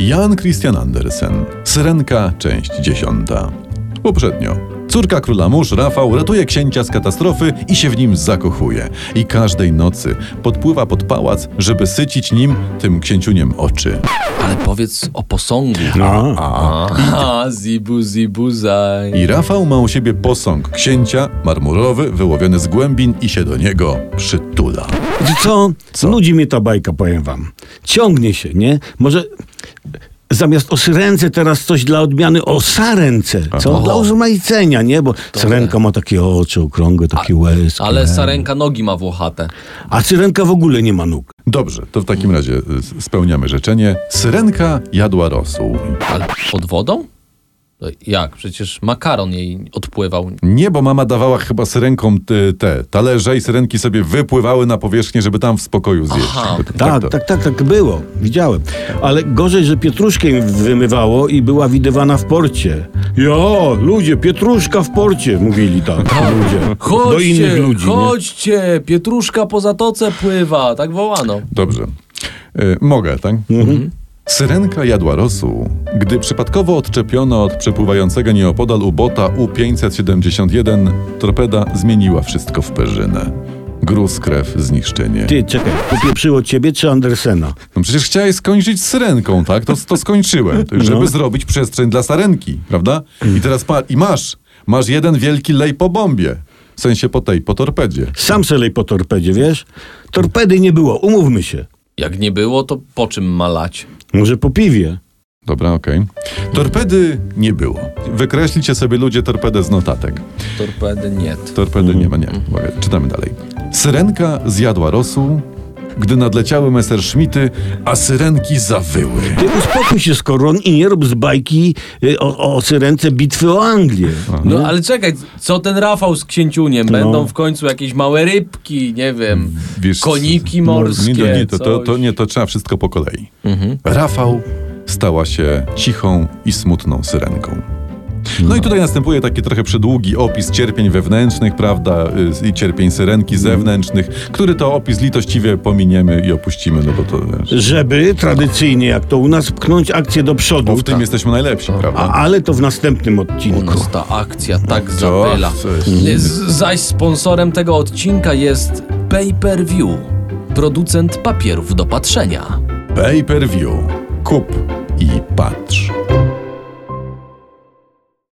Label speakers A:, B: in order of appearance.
A: Jan Christian Andersen. Syrenka, część dziesiąta. Poprzednio. Córka króla mórz, Rafał, ratuje księcia z katastrofy i się w nim zakochuje. I każdej nocy podpływa pod pałac, żeby sycić nim, tym księciuniem, oczy.
B: Ale powiedz o posągu.
C: A,
B: A, zibu, zibu, zaj.
A: I Rafał ma u siebie posąg księcia, marmurowy, wyłowiony z głębin i się do niego przytula.
C: Wiecie co? Nudzi mnie ta bajka, powiem wam. Ciągnie się, nie? Może zamiast o syrence teraz coś dla odmiany o sarence, co?
B: Aha.
C: Dla urozmaicenia, nie? Bo syrenka ma takie oczy okrągłe, takie łez.
B: Ale sarenka nogi ma włochate.
C: A syrenka w ogóle nie ma nóg.
A: Dobrze, to w takim razie y, s- spełniamy życzenie. Syrenka jadła rosół.
B: Ale pod wodą? To Jak? Przecież makaron jej odpływał.
C: No,
A: Nie, bo mama dawała chyba syrenkom te, te talerze i syrenki sobie wypływały na powierzchnię, żeby tam w spokoju zjeść.
B: Aha.
A: To-
C: Tak,
A: to-
C: tak, tak, tak, było. Widziałem. Ale gorzej, że pietruszkę im wymywało i była widywana w porcie. Jo, ludzie, pietruszka w porcie, mówili tak ludzie. Do innych ludzi, nie?
B: chodźcie, pietruszka po zatoce pływa, tak wołano.
A: Dobrze. Y, mogę, tak?
C: Mhm.
A: Syrenka jadła rosół, gdy przypadkowo odczepiono od przepływającego nieopodal ubota U-571, torpeda zmieniła wszystko w perzynę. Gruz, krew, zniszczenie.
C: Ty, czekaj, popieprzyło ciebie czy Andersena?
A: No przecież chciałeś skończyć syrenką, tak? To, to skończyłem, to, żeby
C: No.
A: zrobić przestrzeń dla sarenki, prawda? I teraz pa- i masz, masz jeden wielki lej po bombie. W sensie po tej, po torpedzie.
C: Sam se lej po torpedzie, wiesz? Torpedy nie było, umówmy się.
B: Jak nie było, to po czym malać?
C: Może po piwie.
A: Dobra, okej. Torpedy nie było. Wykreślicie sobie ludzie torpedę z notatek.
B: Torpedy nie.
A: Torpedy nie ma, nie. Uwaga, czytamy dalej. Syrenka zjadła rosół, gdy nadleciały Messerschmitty, a syrenki zawyły.
C: Ty uspokój się, Skoron, i nie rób z bajki y, o, o syrence bitwy o Anglię.
B: No ale czekaj, co ten Rafał z księciuniem?
C: No.
B: Będą w końcu jakieś małe rybki, nie wiem,
C: Mm.
A: Wiesz,
B: koniki
A: Nie,
B: morskie.
A: nie, nie, to, to,
B: coś. Mhm.
A: to nie, to trzeba wszystko po kolei. Rafał stała się cichą i smutną syrenką. No i tutaj następuje taki trochę przedługi opis cierpień wewnętrznych, prawda, y, i cierpień syrenki zewnętrznych, który to opis litościwie pominiemy i opuścimy, no bo to wiesz,
C: Żeby tradycyjnie, jak to u nas, pchnąć akcję do
A: bo
C: przodu.
A: w tym jesteśmy najlepsi,
C: A,
A: prawda?
C: ale to w następnym
B: U
C: odcinku.
B: nas ta akcja tak zapyla.
A: to jest-
B: Z- Zaś sponsorem tego odcinka jest Pay Per View, producent papierów do patrzenia.
A: Pay per view. Kup i patrz.